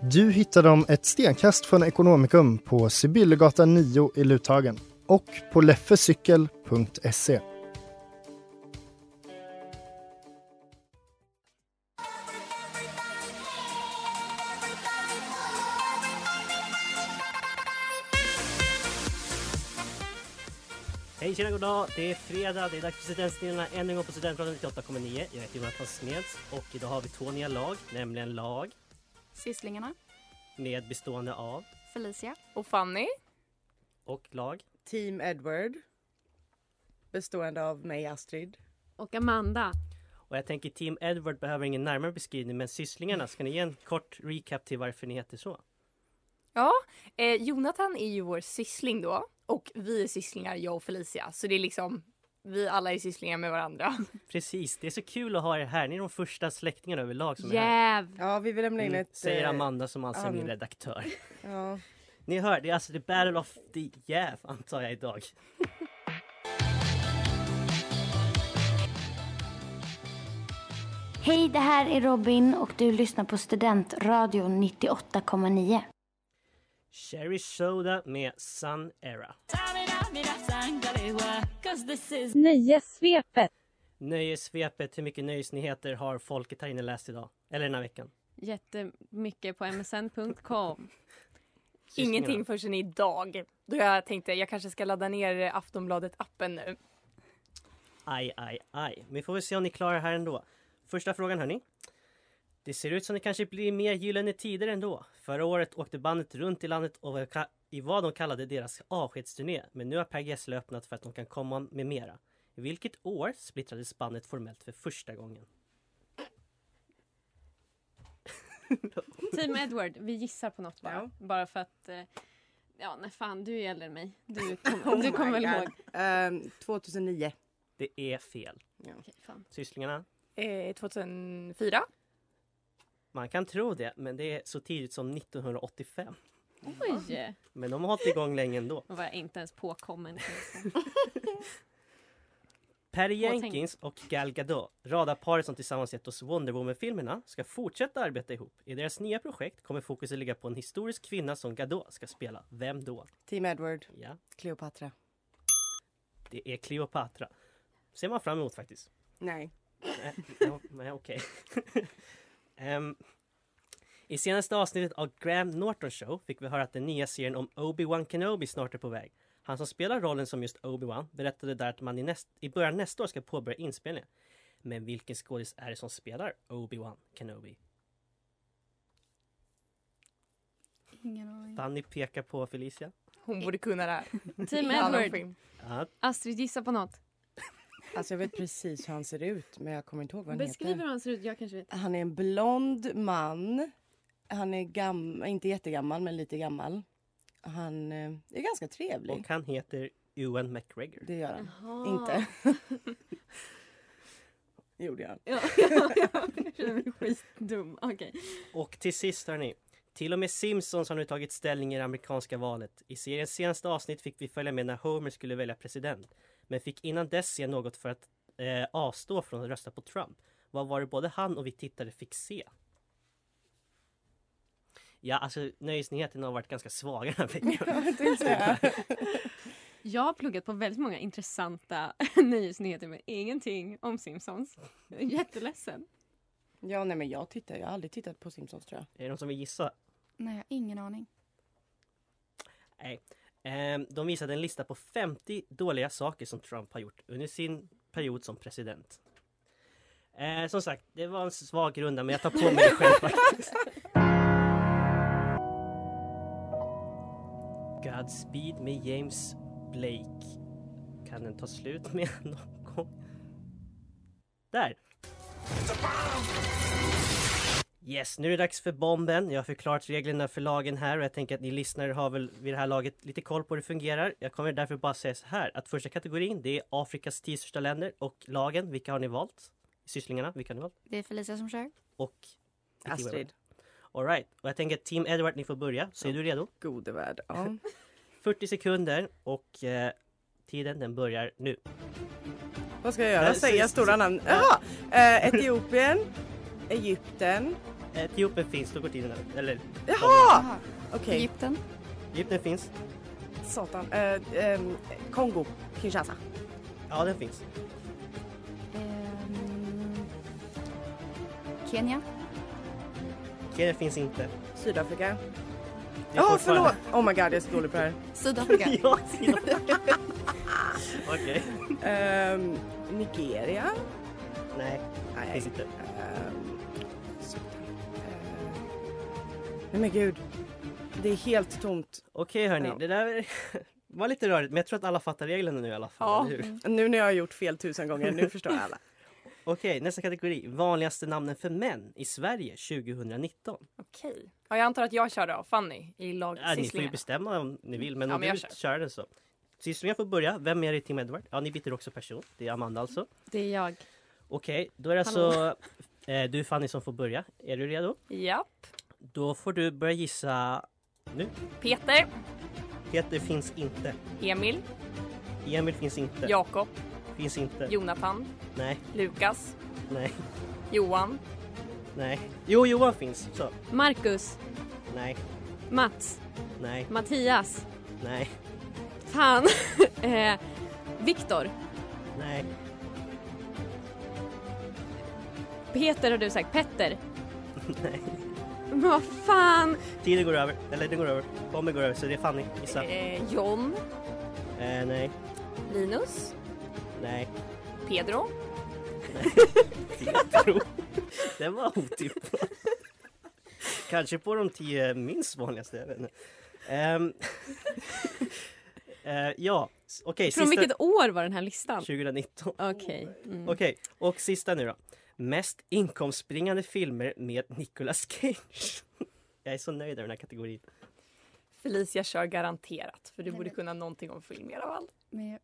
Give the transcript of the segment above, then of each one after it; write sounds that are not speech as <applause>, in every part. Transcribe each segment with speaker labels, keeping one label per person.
Speaker 1: Du hittar dem ett stenkast från Ekonomikum på Sibyllegatan 9 i Luthagen och på leffecykel.se.
Speaker 2: Hej tjena god dag. Det är fredag, det är dags för Studentstillena ännu en gång på Studentradion 98,9. Jag heter Jonathan Smeds och idag har vi två nya lag, nämligen lag
Speaker 3: Sysslingarna,
Speaker 2: med bestående av
Speaker 3: Felicia,
Speaker 4: Och Fanny?
Speaker 2: och lag.
Speaker 5: Team Edward. Bestående av mig, Astrid.
Speaker 6: Och Amanda.
Speaker 2: Och jag tänker Team Edward behöver ingen närmare beskrivning men Sysslingarna, ska ni ge en kort recap till varför ni heter så?
Speaker 3: Ja, eh, Jonathan är ju vår syssling då och vi är sysslingar, jag och Felicia. Så det är liksom, vi alla är sysslingar med varandra.
Speaker 2: Precis, det är så kul att ha er här. Ni är de första släktingarna överlag som är här.
Speaker 6: Jäv!
Speaker 5: Ja, vi vill lämna in
Speaker 2: Mm,
Speaker 5: ett...
Speaker 2: Säger
Speaker 5: eh,
Speaker 2: Amanda som alltså är min
Speaker 5: an-
Speaker 2: redaktör.
Speaker 5: Ja.
Speaker 2: Ni hör, det är alltså the battle of the jäv antar jag idag.
Speaker 7: Hej, det här är Robin och du lyssnar på Studentradion 98,9.
Speaker 2: Cherry Soda med Sun Era.
Speaker 8: Nöjessvepet.
Speaker 2: Nöjessvepet, hur mycket nöjesnyheter har folket här inne läst idag? Eller den här veckan?
Speaker 6: Jättemycket på msn.com.
Speaker 2: Sysslingarna.
Speaker 3: Ingenting förrän idag. Då jag tänkte jag kanske ska ladda ner Aftonbladet-appen nu.
Speaker 2: Aj, aj, aj. Men vi får väl se om ni klarar här ändå. Första frågan hörni. Det ser ut som det kanske blir mer gyllene tider ändå. Förra året åkte bandet runt i landet och var ka- i vad de kallade deras avskedsturné. Men nu har Per Gessle öppnat för att de kan komma med mera. I vilket år splittrades bandet formellt för första gången?
Speaker 6: Team Edward, vi gissar på något bara.
Speaker 5: Ja.
Speaker 6: Bara för att... eh, Ja, nej fan, du är äldre än mig.
Speaker 7: <laughs>
Speaker 6: Du, kom,
Speaker 5: Oh
Speaker 6: du kommer
Speaker 5: my
Speaker 6: väl
Speaker 5: God.
Speaker 6: ihåg?
Speaker 5: Ehm, 2009.
Speaker 2: Det är fel.
Speaker 6: Okej, fan.
Speaker 2: Sysslingarna?
Speaker 3: Eh, 2004.
Speaker 2: Man kan tro det, men det är så tidigt som 1985.
Speaker 6: Oj!
Speaker 2: Men de har hållit igång länge ändå.
Speaker 6: Då var jag inte ens påkommen. kan jag säga.
Speaker 2: Per
Speaker 6: tänk.
Speaker 2: Jenkins och Gal Gadot, radarparet som tillsammans gett oss Wonder Woman-filmerna, ska fortsätta arbeta ihop. I deras nya projekt kommer fokuset ligga på en historisk kvinna som Gadot ska spela. Vem då?
Speaker 5: Team Edward.
Speaker 2: Ja,
Speaker 5: Cleopatra.
Speaker 2: det är Cleopatra. Ser man fram emot faktiskt.
Speaker 5: Nej.
Speaker 2: Nej, Eh, ja, Nej, okej. <laughs> Ehm, I senaste avsnittet av Graham Norton Show fick vi höra att den nya serien om Obi-Wan Kenobi snart är på väg. Han som spelar rollen som just Obi-Wan berättade där att man i, näst, i början nästa år ska påbörja inspelningen. Men vilken skådis är det som spelar Obi-Wan Kenobi?
Speaker 3: Ingen aning.
Speaker 2: Fanny pekar på Felicia.
Speaker 3: Hon borde kunna det här.
Speaker 6: Team
Speaker 3: I alla
Speaker 6: Edward,
Speaker 3: film.
Speaker 2: Ja,
Speaker 6: Astrid gissa på något.
Speaker 5: Alltså jag vet precis hur han ser ut men jag kommer inte ihåg vad han
Speaker 6: Beskriv hur
Speaker 5: heter.
Speaker 6: han ser ut, jag kanske vet.
Speaker 5: Han är en blond man. Han är gam... inte jättegammal men lite gammal. Han eh, är ganska trevlig.
Speaker 2: och han heter Ewan McGregor.
Speaker 5: Det gör han.
Speaker 6: Jaha. <laughs>
Speaker 5: Inte. Gjorde jag.
Speaker 6: Ja, ja, jag känner mig skitdum. Okej.
Speaker 2: Och till sist hörni. Till och med Simpsons har nu tagit ställning i det amerikanska valet. I seriens senaste avsnitt fick vi följa med när Homer skulle välja president. Men fick innan dess se något för att eh, avstå från att rösta på Trump. Vad var det både han och vi tittare fick se? Ja, alltså nöjesnyheterna har varit ganska svaga <laughs> den här veckan.
Speaker 5: Jag tänkte säga.
Speaker 6: Jag har pluggat på väldigt många intressanta <laughs> nyhetsnyheter men ingenting om Simpsons. Jag är jätteledsen.
Speaker 5: Ja, nej men jag tittar. Jag har aldrig tittat på Simpsons tror jag.
Speaker 2: är det någon som vill gissa?
Speaker 3: Nej, jag har ingen aning.
Speaker 2: Nej. Ehm, De visade en lista på 50 dåliga saker som Trump har gjort under sin period som president. Eh, som sagt, det var en svag runda men jag tar på mig det själv faktiskt. Godspeed med James Blake. Kan den ta slut med någon gång? Där! Yes, nu är det dags för bomben. Jag har förklarat reglerna för lagen här och jag tänker att ni lyssnare har väl vid det här laget lite koll på hur det fungerar. Jag kommer därför bara säga så här att första kategorin det är Afrikas tio största länder och lagen, vilka har ni valt? Sysslingarna, vilka har ni valt?
Speaker 7: Det är Felicia som kör.
Speaker 2: Och?
Speaker 9: Astrid.
Speaker 2: Alright, och jag tänker att Team Edward ni får börja. Så är du redo?
Speaker 9: Gode värld, ja.
Speaker 2: 40 sekunder och eh, tiden den börjar nu.
Speaker 9: Vad ska jag göra?
Speaker 2: Eh,
Speaker 9: Säga
Speaker 2: sist-
Speaker 9: stora namn? Jaha! Eh, Etiopien, <laughs> Egypten.
Speaker 2: Etiopien finns, då går tiden över. Eller?
Speaker 9: Jaha! Okej.
Speaker 7: Egypten.
Speaker 2: Egypten finns.
Speaker 9: Satan. Eh, ehm, Kongo, Kinshasa.
Speaker 2: Ja, den finns.
Speaker 7: Kenya.
Speaker 2: Kenya finns inte. <laughs>
Speaker 9: Sydafrika.
Speaker 2: Det
Speaker 9: Ja,
Speaker 2: är fortfarande-
Speaker 9: förlåt! Oh my god, jag är så dålig på det här.
Speaker 7: Sydafrika.
Speaker 2: ja, Sydafrika. Okej.
Speaker 9: Ehm, Nigeria?
Speaker 2: Nej, finns inte.
Speaker 9: Ehm, nej men gud. Det är helt tomt.
Speaker 2: Okej hörni, det där <laughs> var lite rörigt men jag tror att alla fattar reglerna nu i alla fall.
Speaker 9: Ja, Mm.
Speaker 2: eller hur?
Speaker 9: nu när jag har gjort fel tusen gånger, nu förstår jag alla. <laughs>
Speaker 2: Okej, nästa kategori. Vanligaste namnen för män i Sverige 2019.
Speaker 3: Okej. Ja, jag antar att jag kör då, Fanny, i
Speaker 2: Ja, ni får ju
Speaker 3: lagsysslingarna.
Speaker 2: bestämma om ni vill men
Speaker 3: Ja,
Speaker 2: om
Speaker 3: men jag
Speaker 2: du
Speaker 3: kör.
Speaker 2: kör den så. Sysslingar får börja. Vem är det i Team Edward? Ja, ni byter också person. Det är Amanda alltså.
Speaker 6: Det är jag.
Speaker 2: Okej, då är det
Speaker 6: Hallå.
Speaker 2: alltså <laughs> eh, du Fanny som får börja. Är du redo?
Speaker 3: Japp.
Speaker 2: Då får du börja gissa nu.
Speaker 3: Peter,
Speaker 2: Peter finns inte.
Speaker 3: Emil,
Speaker 2: Emil finns inte.
Speaker 3: Jakob,
Speaker 2: Finns inte.
Speaker 3: Jonathan,
Speaker 2: Nej,
Speaker 3: Lukas,
Speaker 2: nej,
Speaker 3: Johan,
Speaker 2: nej. Jo, Johan finns. Så.
Speaker 6: Marcus,
Speaker 2: Nej,
Speaker 6: Mats,
Speaker 2: nej,
Speaker 6: Mattias,
Speaker 2: nej,
Speaker 6: fan, <laughs> eh, Viktor.
Speaker 2: nej.
Speaker 6: Peter har du sagt, Petter.
Speaker 2: <laughs> Nej.
Speaker 6: Men vad fan!
Speaker 2: Tiden går över, eller den går över. Bomben går över, så det är Fanny. Gissa.
Speaker 3: eh, John,
Speaker 2: Eh, nej,
Speaker 3: Linus,
Speaker 2: nej.
Speaker 3: Pedro.
Speaker 2: Pedro.
Speaker 6: <laughs>
Speaker 2: Den var otippad. Kanske på de tio minst vanligaste, jag vet inte. Ehm, <laughs> eh, ja, s- okej.
Speaker 6: Från
Speaker 2: sista-
Speaker 6: vilket år var den här listan?
Speaker 2: 2019.
Speaker 6: Okej. Mm.
Speaker 2: Okej, och sista nu då. Mest inkomstbringande filmer med Nicolas Cage. <laughs> Jag är så nöjd över den här kategorin.
Speaker 3: Felicia kör garanterat, för du borde kunna någonting om film i alla fall.
Speaker 7: Men jag,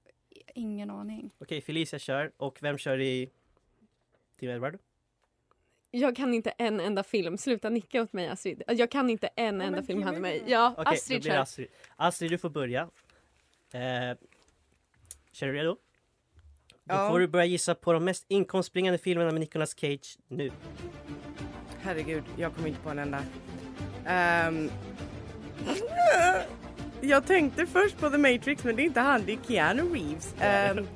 Speaker 7: ingen aning.
Speaker 2: Okej, Felicia kör. Och vem kör i Team Edward?
Speaker 6: Jag kan inte en enda film. Sluta nicka åt mig Astrid. Jag kan inte en enda film han och mig. Ja,
Speaker 2: Okej, då
Speaker 6: Astrid
Speaker 2: blir det
Speaker 6: kör.
Speaker 2: Astrid. Astrid, du får börja. Eh, kör du redo? Då
Speaker 9: Ja.
Speaker 2: får du börja gissa på de mest inkomstbringande filmerna med Nicolas Cage nu.
Speaker 9: Herregud, jag kommer inte på en enda. Ehm, <laughs> jag tänkte först på The Matrix men det är inte han, det är Keanu Reeves. Ehm,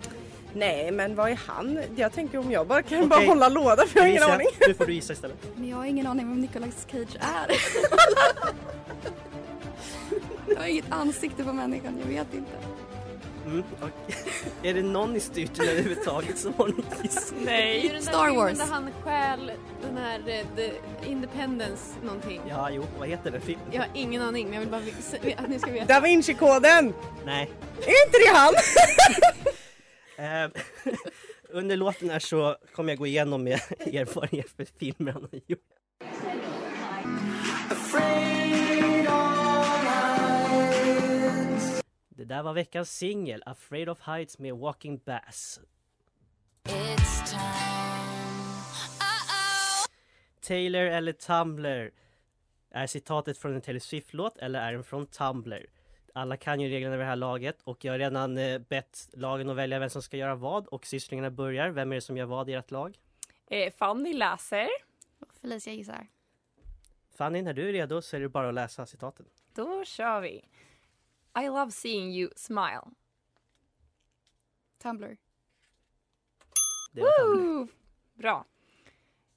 Speaker 9: nej men vad är han? Jag tänker om jag bara kan bara
Speaker 2: Okej.
Speaker 9: hålla låda för jag har ingen
Speaker 2: Felicia,
Speaker 9: aning.
Speaker 2: Nu får du gissa istället.
Speaker 7: <laughs> Men jag har ingen aning vem Nicolas Cage är. jag har inget ansikte på människan, jag vet inte.
Speaker 2: Mm, och, är det någon i styrelsen överhuvudtaget som har någon gissning?
Speaker 6: Det är ju den där
Speaker 7: Star
Speaker 6: filmen
Speaker 7: Wars.
Speaker 6: Där han stjäl den här eh, The Independence någonting.
Speaker 2: Ja, jo, vad heter den filmen?
Speaker 6: Jag har ingen aning men jag vill bara vi- se- att ni ska veta.
Speaker 9: Da Vinci-koden!
Speaker 2: Nej.
Speaker 9: Är inte det han? <laughs>
Speaker 2: Eh, <laughs> under låten här så kommer jag gå igenom med <laughs> erfarenhet för filmer han har gjort. Det där var veckans singel, Afraid of Heights med Walking Bass. Taylor eller Tumblr? Är citatet från en Taylor Swift-låt eller är den från Tumblr? Alla kan ju reglerna vid det här laget och jag har redan eh, bett lagen att välja vem som ska göra vad och sysslingarna börjar. Vem är det som gör vad i ert lag?
Speaker 3: Eh, Fanny läser.
Speaker 7: Felicia gissar.
Speaker 2: Fanny, när du är redo så är det bara att läsa citaten.
Speaker 3: Då kör vi. I love seeing you smile.
Speaker 7: Tumblr.
Speaker 2: Det var Tumblr.
Speaker 3: Woo! Bra.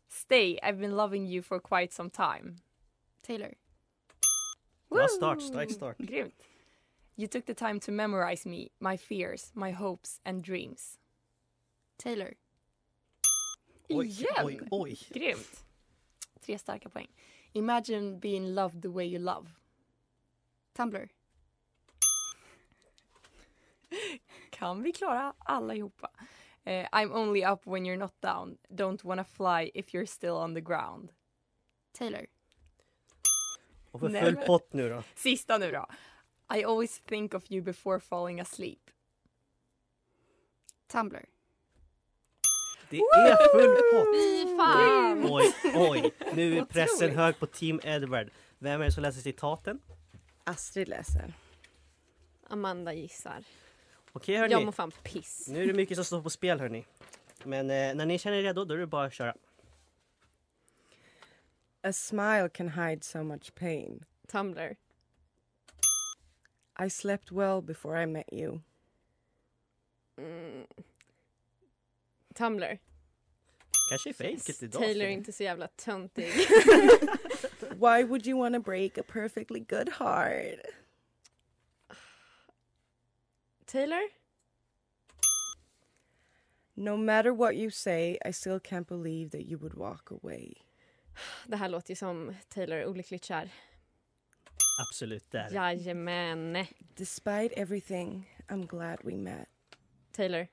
Speaker 3: Stay, I've been loving you for quite some time.
Speaker 7: Taylor.
Speaker 2: Bra start, stark start.
Speaker 3: Grymt. You took the time to memorize me, my fears, my hopes and dreams. Taylor.
Speaker 2: Oj,
Speaker 3: Igen!
Speaker 2: oj, oj.
Speaker 3: Grymt. Tre starka poäng. Imagine being loved the way you love. Tumblr. Kan vi klara allihopa? Eh, I'm only up when you're not down. Don't wanna fly if you're still on the ground. Taylor.
Speaker 2: Och för
Speaker 3: Nej,
Speaker 2: full
Speaker 3: men-
Speaker 2: pott nu då.
Speaker 3: Sista nu då. I always think of you before falling asleep. Tumblr.
Speaker 2: Det är full pott!
Speaker 6: Fy fan!
Speaker 2: Oj, oj, nu är pressen
Speaker 6: Otroligt.
Speaker 2: hög på Team Edward. Vem är det som läser citaten?
Speaker 9: Astrid läser.
Speaker 6: Amanda gissar.
Speaker 2: Okej
Speaker 6: Jag
Speaker 2: hörni,
Speaker 6: mår fan piss.
Speaker 2: nu är det mycket som står på spel hörni. Men eh, när ni känner er redo, då är det bara att köra.
Speaker 9: A smile can hide so much pain.
Speaker 6: Tumblr.
Speaker 9: I slept well before I met you.
Speaker 6: Mm. Tumblr.
Speaker 2: Kanske är fejket idag.
Speaker 6: Taylor är inte så jävla töntig.
Speaker 9: Why would you want to break a perfectly good heart?
Speaker 6: Taylor?
Speaker 9: No matter what you say, I still can't believe that you would walk away.
Speaker 6: Det här låter ju som Taylor är olyckligt kär.
Speaker 2: Absolut, där.
Speaker 6: Jajamän.
Speaker 9: Despite everything, I'm glad we met.
Speaker 6: Taylor.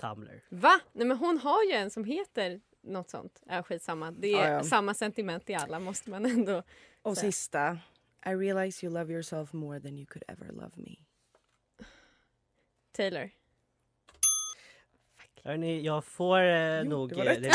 Speaker 2: Tumblr.
Speaker 6: Va? Nej men hon har ju en som heter något sånt. Ja, skitsamma. Det är
Speaker 9: Ja, ja.
Speaker 6: samma sentiment i alla måste man ändå
Speaker 9: Och
Speaker 6: säga.
Speaker 9: sista. Oh, I realize you love yourself more than you could ever love me.
Speaker 6: Taylor.
Speaker 2: Hörni, jag får eh, nog...
Speaker 9: det var
Speaker 2: eh,
Speaker 9: rätt. <laughs>
Speaker 2: det-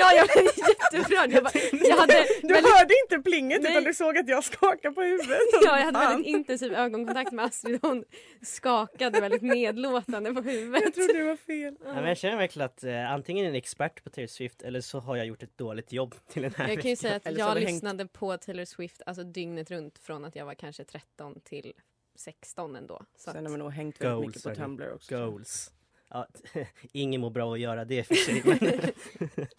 Speaker 6: Ja, jag blev jätteupprörd. <laughs> Jag, bara,
Speaker 9: <laughs>
Speaker 6: jag hade
Speaker 9: Du hörde inte plinget utan du såg att jag skakade på huvudet.
Speaker 6: <laughs> Ja, jag hade
Speaker 9: Fan.
Speaker 6: väldigt intensiv ögonkontakt med Astrid. Hon skakade väldigt nedlåtande på huvudet. Jag
Speaker 9: trodde det var fel.
Speaker 2: Nej, men jag känner verkligen att eh, antingen är ni expert på Taylor Swift eller så har jag gjort ett dåligt jobb till den här
Speaker 6: Jag kan ju
Speaker 2: veckan.
Speaker 6: säga att
Speaker 2: Eller så har
Speaker 6: jag
Speaker 2: vi hängt-
Speaker 6: lyssnade på Taylor Swift alltså dygnet runt från att jag var kanske 13 till 16 ändå.
Speaker 9: Sen
Speaker 6: Så att-
Speaker 9: har man <laughs> nog hängt väldigt mycket
Speaker 2: Goals.
Speaker 9: på
Speaker 2: hörni.
Speaker 9: Tumblr också.
Speaker 2: Goals. Ja, <laughs> ingen mår bra att göra det i och för sig.
Speaker 6: <laughs>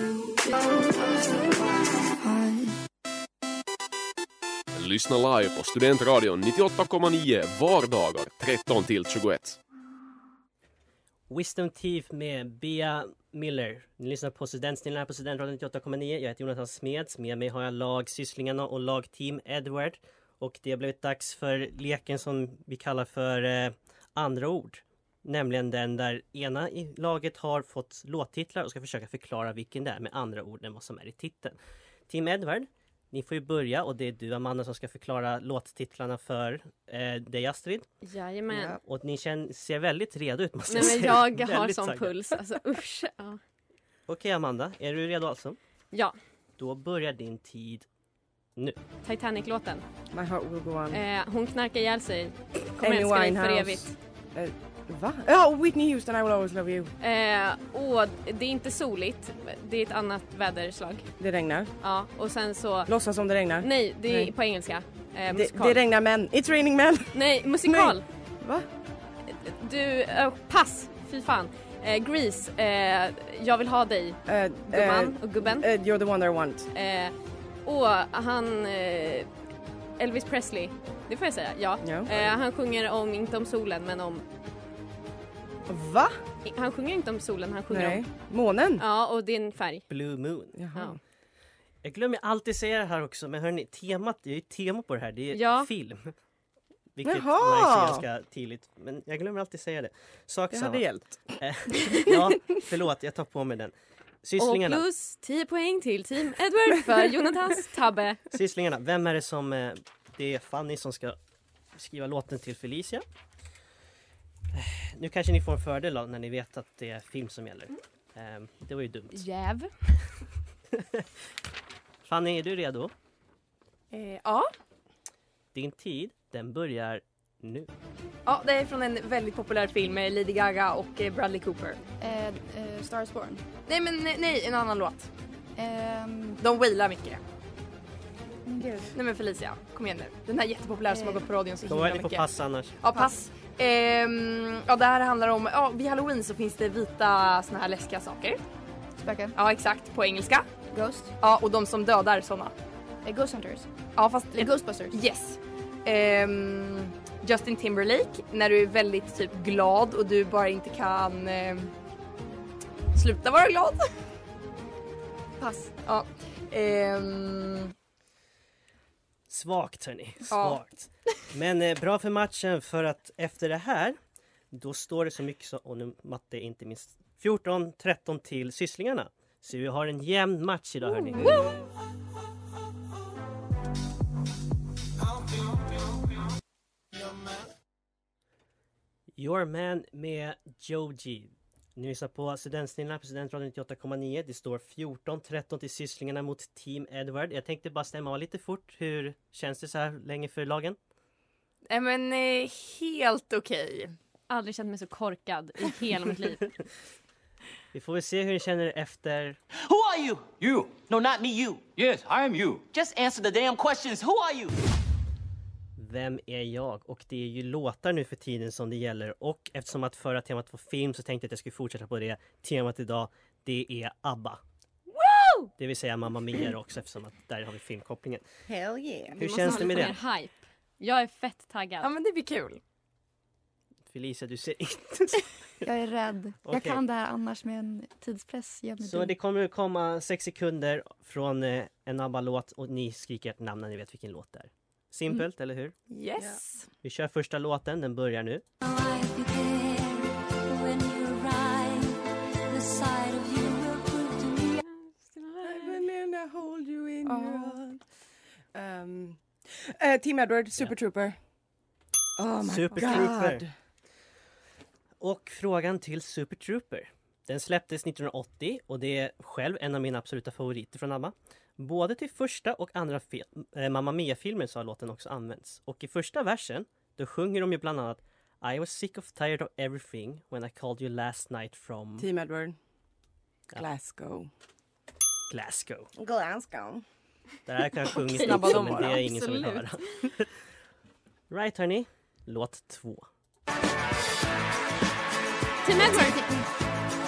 Speaker 2: Men...
Speaker 10: Lyssna live på Studentradion 98,9 vardagar 13 till 21.
Speaker 2: Wisdom Teeth med Bea Miller. Ni lyssnar på Studentsnillen här på Studentradion 98,9. Jag heter Jonathan Smeds. Med mig har jag lagsysslingarna och lagteam Edward. Och det har blivit dags för leken som vi kallar för eh, andra ord. Nämligen den där ena i laget har fått låttitlar och ska försöka förklara vilken det är med andra ord än vad som är i titeln. Team Edward, ni får ju börja och det är du Amanda som ska förklara låttitlarna för eh, dig Astrid.
Speaker 6: <laughs> Jajamän.
Speaker 2: Ja, Och ni känner, ser väldigt redo ut måste
Speaker 6: Nej,
Speaker 2: jag
Speaker 6: men
Speaker 2: säga.
Speaker 9: <laughs>
Speaker 6: jag har
Speaker 2: Väldigt
Speaker 6: sån
Speaker 2: taggad.
Speaker 6: puls. Alltså usch. Ja.
Speaker 2: Okej Amanda, är du redo alltså?
Speaker 6: ja.
Speaker 2: Då börjar din tid nu.
Speaker 6: Titanic-låten.
Speaker 9: My heart will go on.
Speaker 6: Eh, hon knarkar ihjäl sig. Kommer
Speaker 9: Amy
Speaker 6: älska dig för
Speaker 9: Winehouse.
Speaker 6: evigt.
Speaker 9: Eh, va? Ja, Whitney Houston, I will always love you.
Speaker 6: Eh, och det är inte soligt. Det är ett annat väderslag.
Speaker 9: Det regnar.
Speaker 6: Ja, och sen så...
Speaker 9: Låtsas som det regnar.
Speaker 6: Nej, det är
Speaker 9: Nej.
Speaker 6: på engelska. Eh,
Speaker 9: Det,
Speaker 6: musikal.
Speaker 9: det regnar män. It's raining men.
Speaker 6: Nej, musikal.
Speaker 9: Va?
Speaker 6: Du, eh, pass. Fy fan. Eh, Grease. Eh, jag vill ha dig. Gumman och gubben.
Speaker 9: Eh, you're the one that I want.
Speaker 6: Eh, och han... Eh, Elvis Presley. Det får jag säga, ja.
Speaker 9: Ja.
Speaker 6: Eh, han sjunger om, inte om solen, men om...
Speaker 9: Va?
Speaker 6: I- Han sjunger inte om solen, han sjunger
Speaker 9: Nej.
Speaker 6: om...
Speaker 9: Månen?
Speaker 6: Ja, och det är en färg.
Speaker 2: Blue Moon.
Speaker 6: Ja.
Speaker 2: Jag glömmer alltid säga det här också, men hörni, temat, det är ju ett tema på det här, det är
Speaker 6: Ja.
Speaker 2: film. Vilket
Speaker 9: Jaha!
Speaker 2: Jaha! ganska tidigt, men jag glömmer alltid säga det. Sak
Speaker 9: Det
Speaker 2: samma.
Speaker 9: hade hjälpt.
Speaker 2: Eh,
Speaker 6: <laughs>
Speaker 2: ja, förlåt, jag tar på mig den. Sysslingarna,
Speaker 6: Och plus 10 poäng till Team Edward för Jonathans tabbe.
Speaker 2: sysslingarna, vem är det som... eh, Det är Fanny som ska skriva låten till Felicia. Eh, Nu kanske ni får en fördel då, när ni vet att det är film som gäller. Eh, Det var ju dumt.
Speaker 6: Jäv.
Speaker 2: <laughs> Fanny, är du redo?
Speaker 3: Eh, ja.
Speaker 2: Din tid, den börjar nu.
Speaker 3: ja, det är från en väldigt populär film med Lady Gaga och eh, Bradley Cooper.
Speaker 11: Eh, eh, Stars Born.
Speaker 3: Nej, men nej, nej en annan låt.
Speaker 11: Ehm,
Speaker 3: De wailar mycket.
Speaker 11: men gud.
Speaker 3: Nej men Felicia, kom igen nu. Den här jättepopulära som har gått på radion så
Speaker 2: Då
Speaker 3: himla
Speaker 2: är ni
Speaker 3: mycket.
Speaker 2: på pass annars.
Speaker 3: Ja, pass. Ehm, ja, det här handlar om, ja, vid halloween så finns det vita såna här läskiga saker.
Speaker 11: Spöken?
Speaker 3: Ja, exakt. På engelska.
Speaker 11: Ghost?
Speaker 3: Ja, och de som dödar såna.
Speaker 11: Eh, Ghost Hunters.
Speaker 3: Ja, fast...
Speaker 11: Eller Ghostbusters.
Speaker 3: Yes. Ehm, Justin Timberlake, när du är väldigt typ glad och du bara inte kan ehm, sluta vara glad. Pass. Ja. Ehm,
Speaker 2: Svagt hörni,
Speaker 3: Ja.
Speaker 2: svagt. Men eh, bra för matchen för att efter det här då står det så mycket som, och nu matte är inte minst, 14-13 till Sysslingarna. Så vi har en jämn match idag hörni. Your Man med Joji. Ni lyssnar på Studentsnillena på Studentradion 98,9. Det står 14-13 till Sysslingarna mot Team Edward. Jag tänkte bara stämma av lite fort. Hur känns det så här länge för lagen?
Speaker 3: nej men eh, helt okej.
Speaker 6: Aldrig känt mig så korkad i hela mitt liv.
Speaker 2: Vi får väl se hur ni känner efter...
Speaker 12: Who are you? You. No, not me, you. Yes, I am you. Just answer the damn questions. Who are you?
Speaker 2: Vem är jag? Och det är ju låtar nu för tiden som det gäller. Och eftersom att förra temat var film så tänkte jag att jag skulle fortsätta på det temat idag. Det är ABBA.
Speaker 6: Woo!
Speaker 2: Det vill säga Mamma Mia också eftersom att där har vi filmkopplingen.
Speaker 6: Hell yeah.
Speaker 2: Hur känns det med det?
Speaker 6: hype. Jag är fett taggad. Ja
Speaker 3: men det blir kul.
Speaker 2: Felicia, du ser inte...
Speaker 11: Jag är rädd. Jag
Speaker 2: Okej.
Speaker 11: kan det här annars med en tidspress. Gör mig
Speaker 2: Så
Speaker 11: dum.
Speaker 2: det kommer att komma sex sekunder från eh, en ABBA-låt och ni skriker ert namn när ni vet vilken låt det är. Simpelt,
Speaker 11: Mm.
Speaker 2: eller hur?
Speaker 3: Yes.
Speaker 2: Vi kör första låten, den börjar nu.
Speaker 9: Evelina, hold you in your heart. Ehm, eh, Team Edward, Super Trooper. Oh my
Speaker 2: Super
Speaker 9: god.
Speaker 2: Trooper. Och frågan till Super Trooper. Den släpptes 1980 och det är själv en av mina absoluta favoriter från ABBA. Både till första och andra fil- eh, Mamma Mia-filmer så har låten också använts. Och i första versen, då sjunger de ju bland annat I was sick of tired of everything when I called you last night from
Speaker 9: Team Edward. Glasgow.
Speaker 2: Glasgow.
Speaker 9: Glasgow.
Speaker 2: Det här
Speaker 9: <laughs>
Speaker 2: kan jag sjunga
Speaker 9: Okej.
Speaker 2: snabbt
Speaker 9: Snabba de
Speaker 2: men det är
Speaker 9: bara.
Speaker 2: ingen som vill höra.
Speaker 9: Absolut.
Speaker 2: <laughs> right hörni, låt två.
Speaker 6: Team Edward!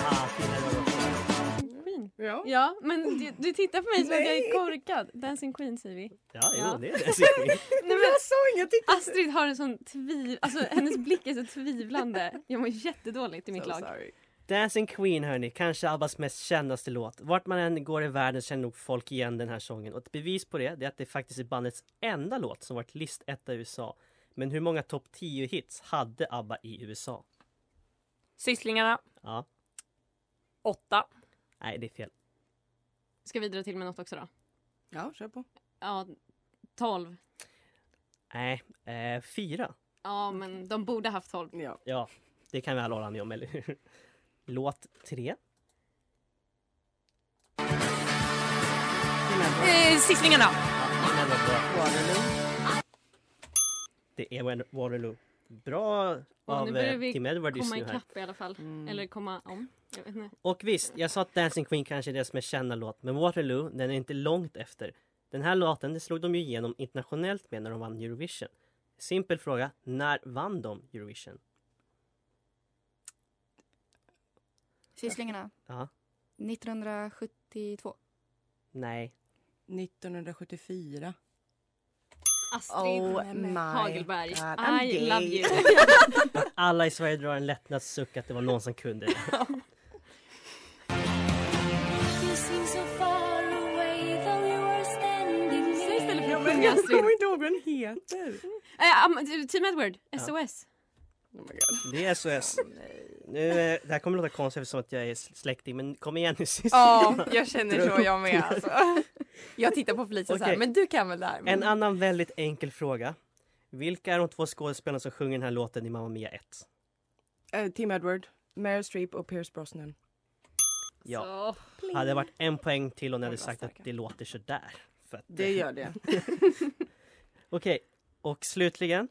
Speaker 2: Ah, till Edward också.
Speaker 6: Queen. Ja. men du, du tittar på mig som att jag är
Speaker 9: Nej.
Speaker 6: korkad. Dancing Queen säger vi.
Speaker 2: Ja, jo, det är
Speaker 9: <laughs>
Speaker 2: det. <laughs> Sigrid.
Speaker 6: Nej, men, Alltså, Astrid har en sån tviv... Alltså hennes blick är så tvivlande. Jag mår jättedåligt i mitt lag.
Speaker 2: Dancing Queen hörni, kanske ABBAs mest kändaste låt. Vart man än går i världen känner nog folk igen den här sången. Och ett bevis på det, det är att det faktiskt är bandets enda låt som varit listetta i USA. Men hur många topp 10 hits hade ABBA i USA?
Speaker 3: Sysslingarna,
Speaker 2: Ja,
Speaker 3: åtta.
Speaker 2: nej det är fel.
Speaker 6: Ska vi dra till med något också då?
Speaker 9: Ja, kör på.
Speaker 6: Ja, 12.
Speaker 2: Nej, eh, fyra.
Speaker 6: Ja, men de borde haft 12.
Speaker 9: Ja.
Speaker 2: Ja, det kan vi alla hålla med om, eller hur? Låt tre.
Speaker 3: Eh, Sysslingarna.
Speaker 2: Den var bra. Det är Wen- Waterloo. Bra
Speaker 6: Och nu
Speaker 2: av
Speaker 6: börjar
Speaker 2: eh,
Speaker 6: vi
Speaker 2: Tim Edward just
Speaker 6: komma
Speaker 2: nu här.
Speaker 6: ikapp i alla fall.
Speaker 9: Mm.
Speaker 6: Eller komma om. Jag vet inte.
Speaker 2: Och visst, jag sa att Dancing Queen kanske är deras mest kända låt, men Waterloo, den är inte långt efter. Den här låten, det slog de ju igenom internationellt med när de vann Eurovision. Simpel fråga, när vann de Eurovision?
Speaker 11: Sysslingarna.
Speaker 2: Ja,
Speaker 11: 1972.
Speaker 2: nej.
Speaker 9: 1974.
Speaker 6: Astrid
Speaker 9: Oh my
Speaker 6: Hagelberg.
Speaker 9: God, I'm
Speaker 6: I
Speaker 9: gay.
Speaker 6: love you.
Speaker 2: Att alla i Sverige drar en lättnadssuck att det var någon som kunde det.
Speaker 6: Säg istället för
Speaker 9: Ja,
Speaker 6: att
Speaker 9: men <laughs>
Speaker 6: sjunga
Speaker 9: jag
Speaker 6: Astrid.
Speaker 9: kommer inte ihåg vad den heter.
Speaker 6: Eh, um, Team Edward, SOS.
Speaker 11: Oh
Speaker 2: Det är SOS. Nu, eh, det här kommer låta konstigt eftersom att jag är släkting, men kom igen nu syster.
Speaker 3: Ja, jag känner så jag med
Speaker 2: <laughs> Dra upp
Speaker 3: alltså. Jag tittar på Felicia så här,
Speaker 2: Okej.
Speaker 3: men du kan väl det här? Mm.
Speaker 2: En annan väldigt enkel fråga. Vilka är de två skådespelarna som sjunger den här låten i Mamma Mia 1?
Speaker 9: Eh, Team Edward, Meryl Streep och Pierce Brosnan.
Speaker 2: Ja.
Speaker 9: Pling.
Speaker 2: Hade det varit en poäng till om ni hade sagt att det låter sådär. För att,
Speaker 9: Det gör det.
Speaker 2: Okej, och slutligen.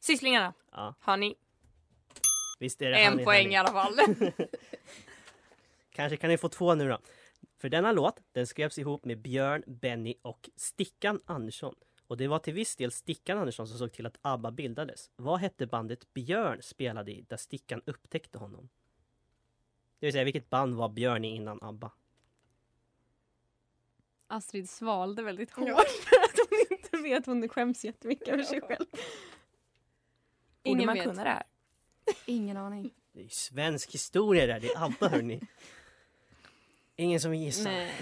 Speaker 3: Sysslingarna.
Speaker 2: Ja.
Speaker 3: Honey.
Speaker 2: Visst är det
Speaker 3: En
Speaker 2: Honey,
Speaker 3: poäng
Speaker 2: Honey.
Speaker 3: i alla
Speaker 2: <laughs>
Speaker 3: fall.
Speaker 2: Kanske kan ni få två nu då. För denna låt, den skrevs ihop med Björn, Benny och Stickan Andersson. Och det var till viss del Stickan Andersson som såg till att ABBA bildades. Vad hette bandet Björn spelade i där Stickan upptäckte honom? Det vill säga, vilket band var Björn i innan ABBA?
Speaker 6: Astrid svalde väldigt hårt för att hon inte vet. Hon skäms jättemycket över sig själv.
Speaker 11: Borde
Speaker 6: Ingen
Speaker 11: man
Speaker 6: vet.
Speaker 11: kunna det här? Ingen aning.
Speaker 2: Det är ju svensk historia där, det är ABBA hörni. Ingen som gissar.
Speaker 6: Nej.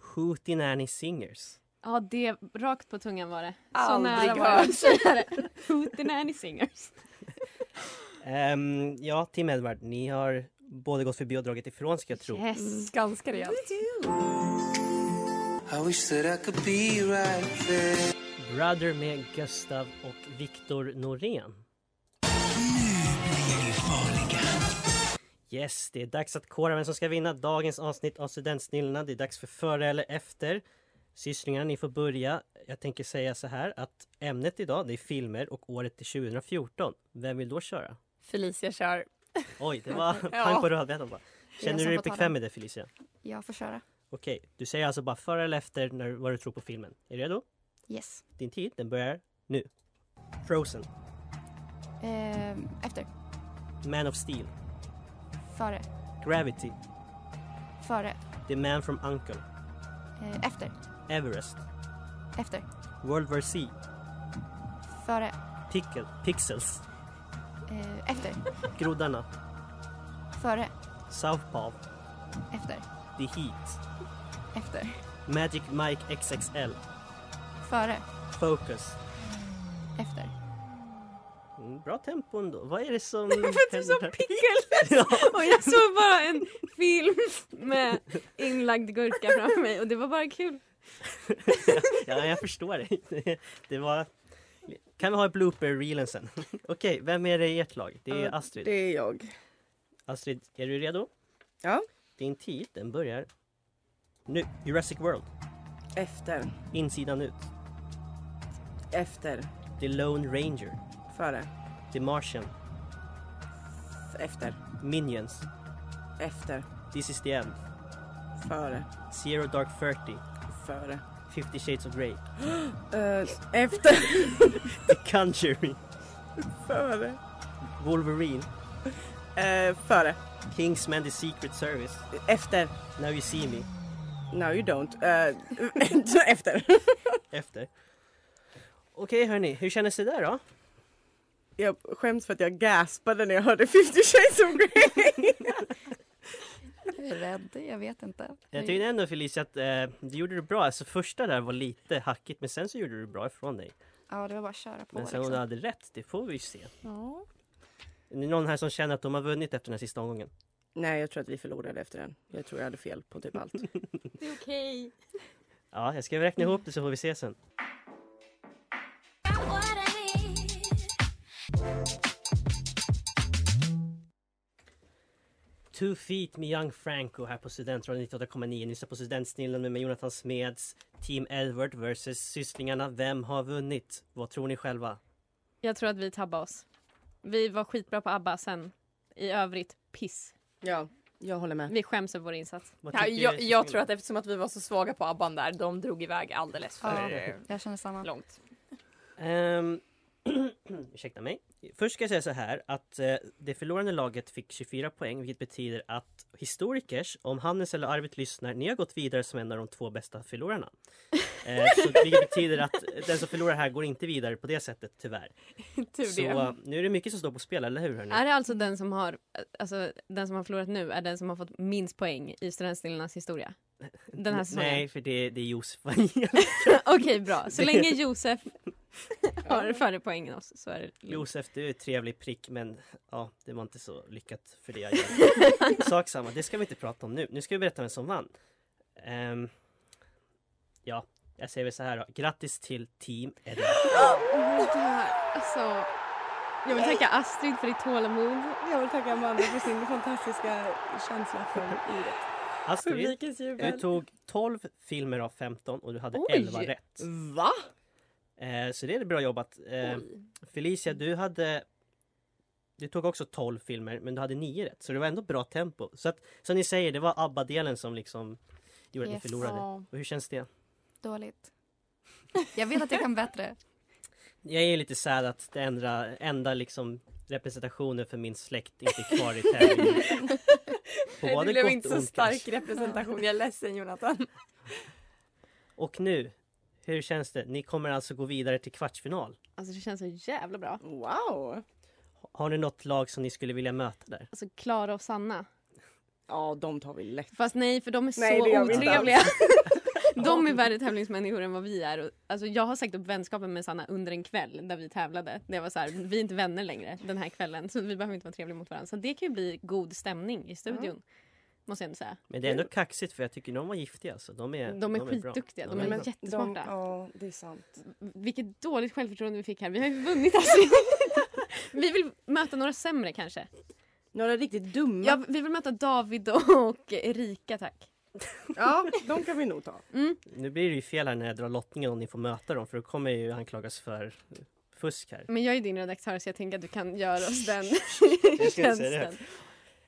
Speaker 2: Hootie Nanny Singers.
Speaker 6: Ja, det rakt på tungan var det.
Speaker 3: Aldrig
Speaker 6: jag
Speaker 3: hört.
Speaker 6: att säga det. Hooten Nanny Singers.
Speaker 2: Ehm, ja, Tim Edward, ni har både gått förbi och dragit ifrån ska jag tro.
Speaker 3: Yes, ganska rejält.
Speaker 12: I wish that I could be right there.
Speaker 2: Brother med Gustav och Viktor Norén. Yes, det är dags att kora vem som ska vinna dagens avsnitt av Studentsnillena. Det är dags för före eller efter. Sysslingar, ni får börja. Jag tänker säga så här att ämnet idag det är filmer och året är 2014. Vem vill då köra?
Speaker 3: Felicia kör.
Speaker 2: Oj,
Speaker 11: <laughs>
Speaker 2: det var
Speaker 3: Ja.
Speaker 2: pang på rödbetan
Speaker 11: Det
Speaker 2: bara.
Speaker 11: är jag
Speaker 2: Känner du
Speaker 11: som
Speaker 2: dig
Speaker 11: får ta
Speaker 2: bekväm
Speaker 11: den.
Speaker 2: med det Felicia?
Speaker 11: Jag får köra.
Speaker 2: Okej, du säger alltså bara före eller efter när, vad du tror på filmen. Är du redo?
Speaker 11: Yes.
Speaker 2: Din tid, den börjar nu. Frozen,
Speaker 11: Eh, efter.
Speaker 2: Man of Steel,
Speaker 11: Före.
Speaker 2: Gravity,
Speaker 11: Före.
Speaker 2: The Man from Uncle,
Speaker 11: Eh, efter.
Speaker 2: Everest,
Speaker 11: Efter.
Speaker 2: World War Z,
Speaker 11: Före.
Speaker 2: Pickle, Pixels,
Speaker 11: Eh, efter.
Speaker 2: Groddarna,
Speaker 11: Före.
Speaker 2: Southpaw,
Speaker 11: Efter.
Speaker 2: The Heat,
Speaker 11: Efter.
Speaker 2: Magic Mike XXL,
Speaker 11: Före.
Speaker 2: Focus.
Speaker 11: Efter.
Speaker 2: Mm, Bra tempo ändå. Vad är det
Speaker 6: <laughs>
Speaker 2: som
Speaker 6: För att du sa
Speaker 2: här?
Speaker 6: pickles!
Speaker 2: <laughs>
Speaker 6: <laughs> Och jag såg bara en film med inlagd gurka framför mig och det var bara kul.
Speaker 2: <laughs> ja, jag förstår dig. Det- Det var... Kan vi ha ett blooper-reelen sen? <laughs> Okej, vem är det i ert lag? Det är
Speaker 9: Ja,
Speaker 2: Astrid.
Speaker 9: Det är jag.
Speaker 2: Astrid, är du redo?
Speaker 9: Ja.
Speaker 2: Din tid, den börjar nu. Jurassic World,
Speaker 9: Efter.
Speaker 2: Insidan ut,
Speaker 9: Efter.
Speaker 2: The Lone Ranger,
Speaker 9: Före.
Speaker 2: The Martian,
Speaker 9: Efter.
Speaker 2: Minions,
Speaker 9: Efter.
Speaker 2: This is the end,
Speaker 9: Före.
Speaker 2: Zero Dark Thirty,
Speaker 9: Före.
Speaker 2: Fifty Shades of Grey,
Speaker 9: Eh, efter. <laughs>
Speaker 2: The <laughs> Conjuring,
Speaker 9: före.
Speaker 2: Wolverine,
Speaker 9: Eh, före.
Speaker 2: Kingsman The Secret Service,
Speaker 9: Efter.
Speaker 2: Now You See Me,
Speaker 9: No you don't. Eh, <laughs> efter.
Speaker 2: efter. Okej hörni, hur kändes det där då?
Speaker 9: Jag skäms för att jag gaspade när jag hörde 50 shades of Grey.
Speaker 11: Jag är rädd. Jag vet inte.
Speaker 2: Jag tyckte ändå Felicia att eh, du gjorde det bra. Alltså första där var lite hackigt men sen så gjorde du bra ifrån dig.
Speaker 11: Ja, det var bara att köra på.
Speaker 2: Men sen om du
Speaker 11: liksom.
Speaker 2: hade rätt, det får vi ju se.
Speaker 11: Ja.
Speaker 2: Är det någon här som känner att de har vunnit efter den här sista omgången?
Speaker 9: Nej jag tror att vi förlorade efter den. Jag tror jag hade fel på typ allt.
Speaker 6: Det är okej.
Speaker 2: Ja, jag ska räkna ihop det så får vi se sen. Two Feet med Young Franco här på Studentradion 98,9. Ni lyssnar på Studentsnillen med mig Jonathan Smeds. Team Edward versus Sysslingarna. Vem har vunnit? Vad tror ni själva?
Speaker 6: Jag tror att vi tabbade oss. Vi var skitbra på ABBA sen. I övrigt piss.
Speaker 9: <laughs> Ja, jag håller med.
Speaker 6: Vi skäms över vår insats.
Speaker 3: Ja, jag, jag tror att eftersom att vi var så svaga på ABBAn där, de drog iväg alldeles för
Speaker 2: Ja.
Speaker 11: Jag känner samma.
Speaker 3: långt.
Speaker 2: Um, <clears throat> ursäkta mig. Först ska jag säga så här att eh, det förlorande laget fick 24 poäng vilket betyder att historikers, om Hannes eller Arvid lyssnar, ni har gått vidare som en av de två bästa förlorarna. Eh, så,
Speaker 6: <laughs>
Speaker 2: vilket betyder att den som förlorar här går inte vidare på det sättet tyvärr.
Speaker 6: Tur
Speaker 2: så
Speaker 6: det.
Speaker 2: eh, nu är det mycket som står på spel, eller hur? Hörni?
Speaker 6: Är det alltså den som har, alltså den som har förlorat nu är den som har fått minst poäng i Studentsnillarnas historia? Den här säsongen?
Speaker 2: Nej, för det, det är Josef. Angelica. <laughs>
Speaker 6: <laughs> Okej, bra. Så
Speaker 2: Det-
Speaker 6: länge
Speaker 2: <laughs>
Speaker 6: Josef har färre poäng än oss så är det lugnt.
Speaker 2: Josef, du är ett trevlig prick men ja, det var inte så lyckat för det jag gjorde. Sak samma, det ska vi inte prata om nu. Nu ska vi berätta vem som vann. Ehm, ja, jag säger väl så här då. Grattis till Team Edward.
Speaker 6: Åh, det här, Alltså, jag vill tacka Astrid för ditt tålamod.
Speaker 9: Jag vill tacka Amanda för sin fantastiska känsla för ordet. <laughs>
Speaker 2: Astrid,
Speaker 9: Publikens jubel.
Speaker 2: du tog 12 filmer av 15 och du hade
Speaker 9: Oj!
Speaker 2: 11 rätt.
Speaker 9: Va?
Speaker 2: Eh, så det är bra jobbat. Eh, Felicia, du hade... Du tog också 12 filmer, men du hade 9 rätt. Så det var ändå bra tempo. Så att, som ni säger, det var ABBA-delen som liksom gjorde
Speaker 11: Yes.
Speaker 2: att ni förlorade.
Speaker 11: Ja.
Speaker 2: Och hur känns det?
Speaker 11: Dåligt. Jag vet att jag kan bättre.
Speaker 2: Jag är lite sad att
Speaker 3: <laughs>
Speaker 2: det enda, enda liksom representationen för min släkt inte är kvar i tävlingen. På både
Speaker 3: det blev
Speaker 2: gott
Speaker 3: inte
Speaker 2: och
Speaker 3: så
Speaker 2: ont,
Speaker 3: stark
Speaker 2: kanske.
Speaker 3: representation. Jag är ledsen Jonathan.
Speaker 2: Och nu, hur känns det? Ni kommer alltså gå vidare till kvartsfinal.
Speaker 6: Alltså det känns så jävla bra.
Speaker 9: Wow!
Speaker 2: Har ni något lag som ni skulle vilja möta där?
Speaker 6: Alltså Klara och Sanna.
Speaker 9: Ja, de tar vi lätt.
Speaker 6: Fast nej, för de är
Speaker 9: Nej, det
Speaker 6: så
Speaker 9: gör vi inte
Speaker 6: otrevliga.
Speaker 9: alls.
Speaker 6: de är värre tävlingsmänniskor än vad vi är. Och, Alltså, jag har sagt upp vänskapen med Sanna under en kväll där vi tävlade. Det var så här, vi är inte vänner längre den här kvällen så vi behöver inte vara trevliga mot varandra. Så det kan ju bli god stämning i studion. Måste jag ändå säga.
Speaker 2: Men det är ändå kaxigt för jag tycker de var giftiga alltså. De är,
Speaker 6: Eh. De är
Speaker 2: bra.
Speaker 6: skitduktiga, de är
Speaker 2: bra.
Speaker 6: jättesmarta.
Speaker 9: ja, det är sant.
Speaker 6: Vilket dåligt självförtroende vi fick här. Vi har ju vunnit alltså. <laughs> vi vill möta några sämre kanske.
Speaker 9: Några riktigt dumma.
Speaker 6: Ja, vi vill möta David och Erika tack.
Speaker 9: Ja, de kan vi nog ta.
Speaker 2: Nu blir det ju fel här när jag drar lottningen om ni får möta dem för då kommer jag ju anklagas för fusk här.
Speaker 6: Men jag är ju din redaktör så jag tänker att du kan göra oss den <laughs>
Speaker 2: Jag ska inte säga <laughs> det.
Speaker 6: tjänsten.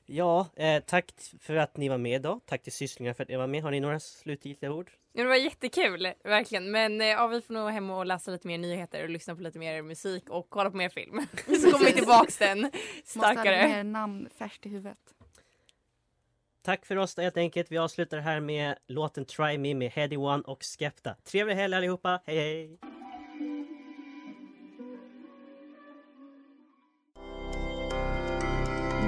Speaker 2: Ja, eh, tack för att ni var med idag. Tack till sysslingar för att ni var med. Har ni några slutgiltiga ord?
Speaker 3: Ja, det var jättekul, verkligen. Men eh, ja, vi får nog hem och läsa lite mer nyheter och lyssna på lite mer musik och kolla på mer film. <laughs> Så kommer vi tillbaks sen
Speaker 11: Måste ha mer
Speaker 3: starkare.
Speaker 11: namn färskt i huvudet.
Speaker 2: Tack för oss helt enkelt. Vi avslutar här med låten Try Me med Heady One och Skepta. Trevlig helg allihopa. Hej hej!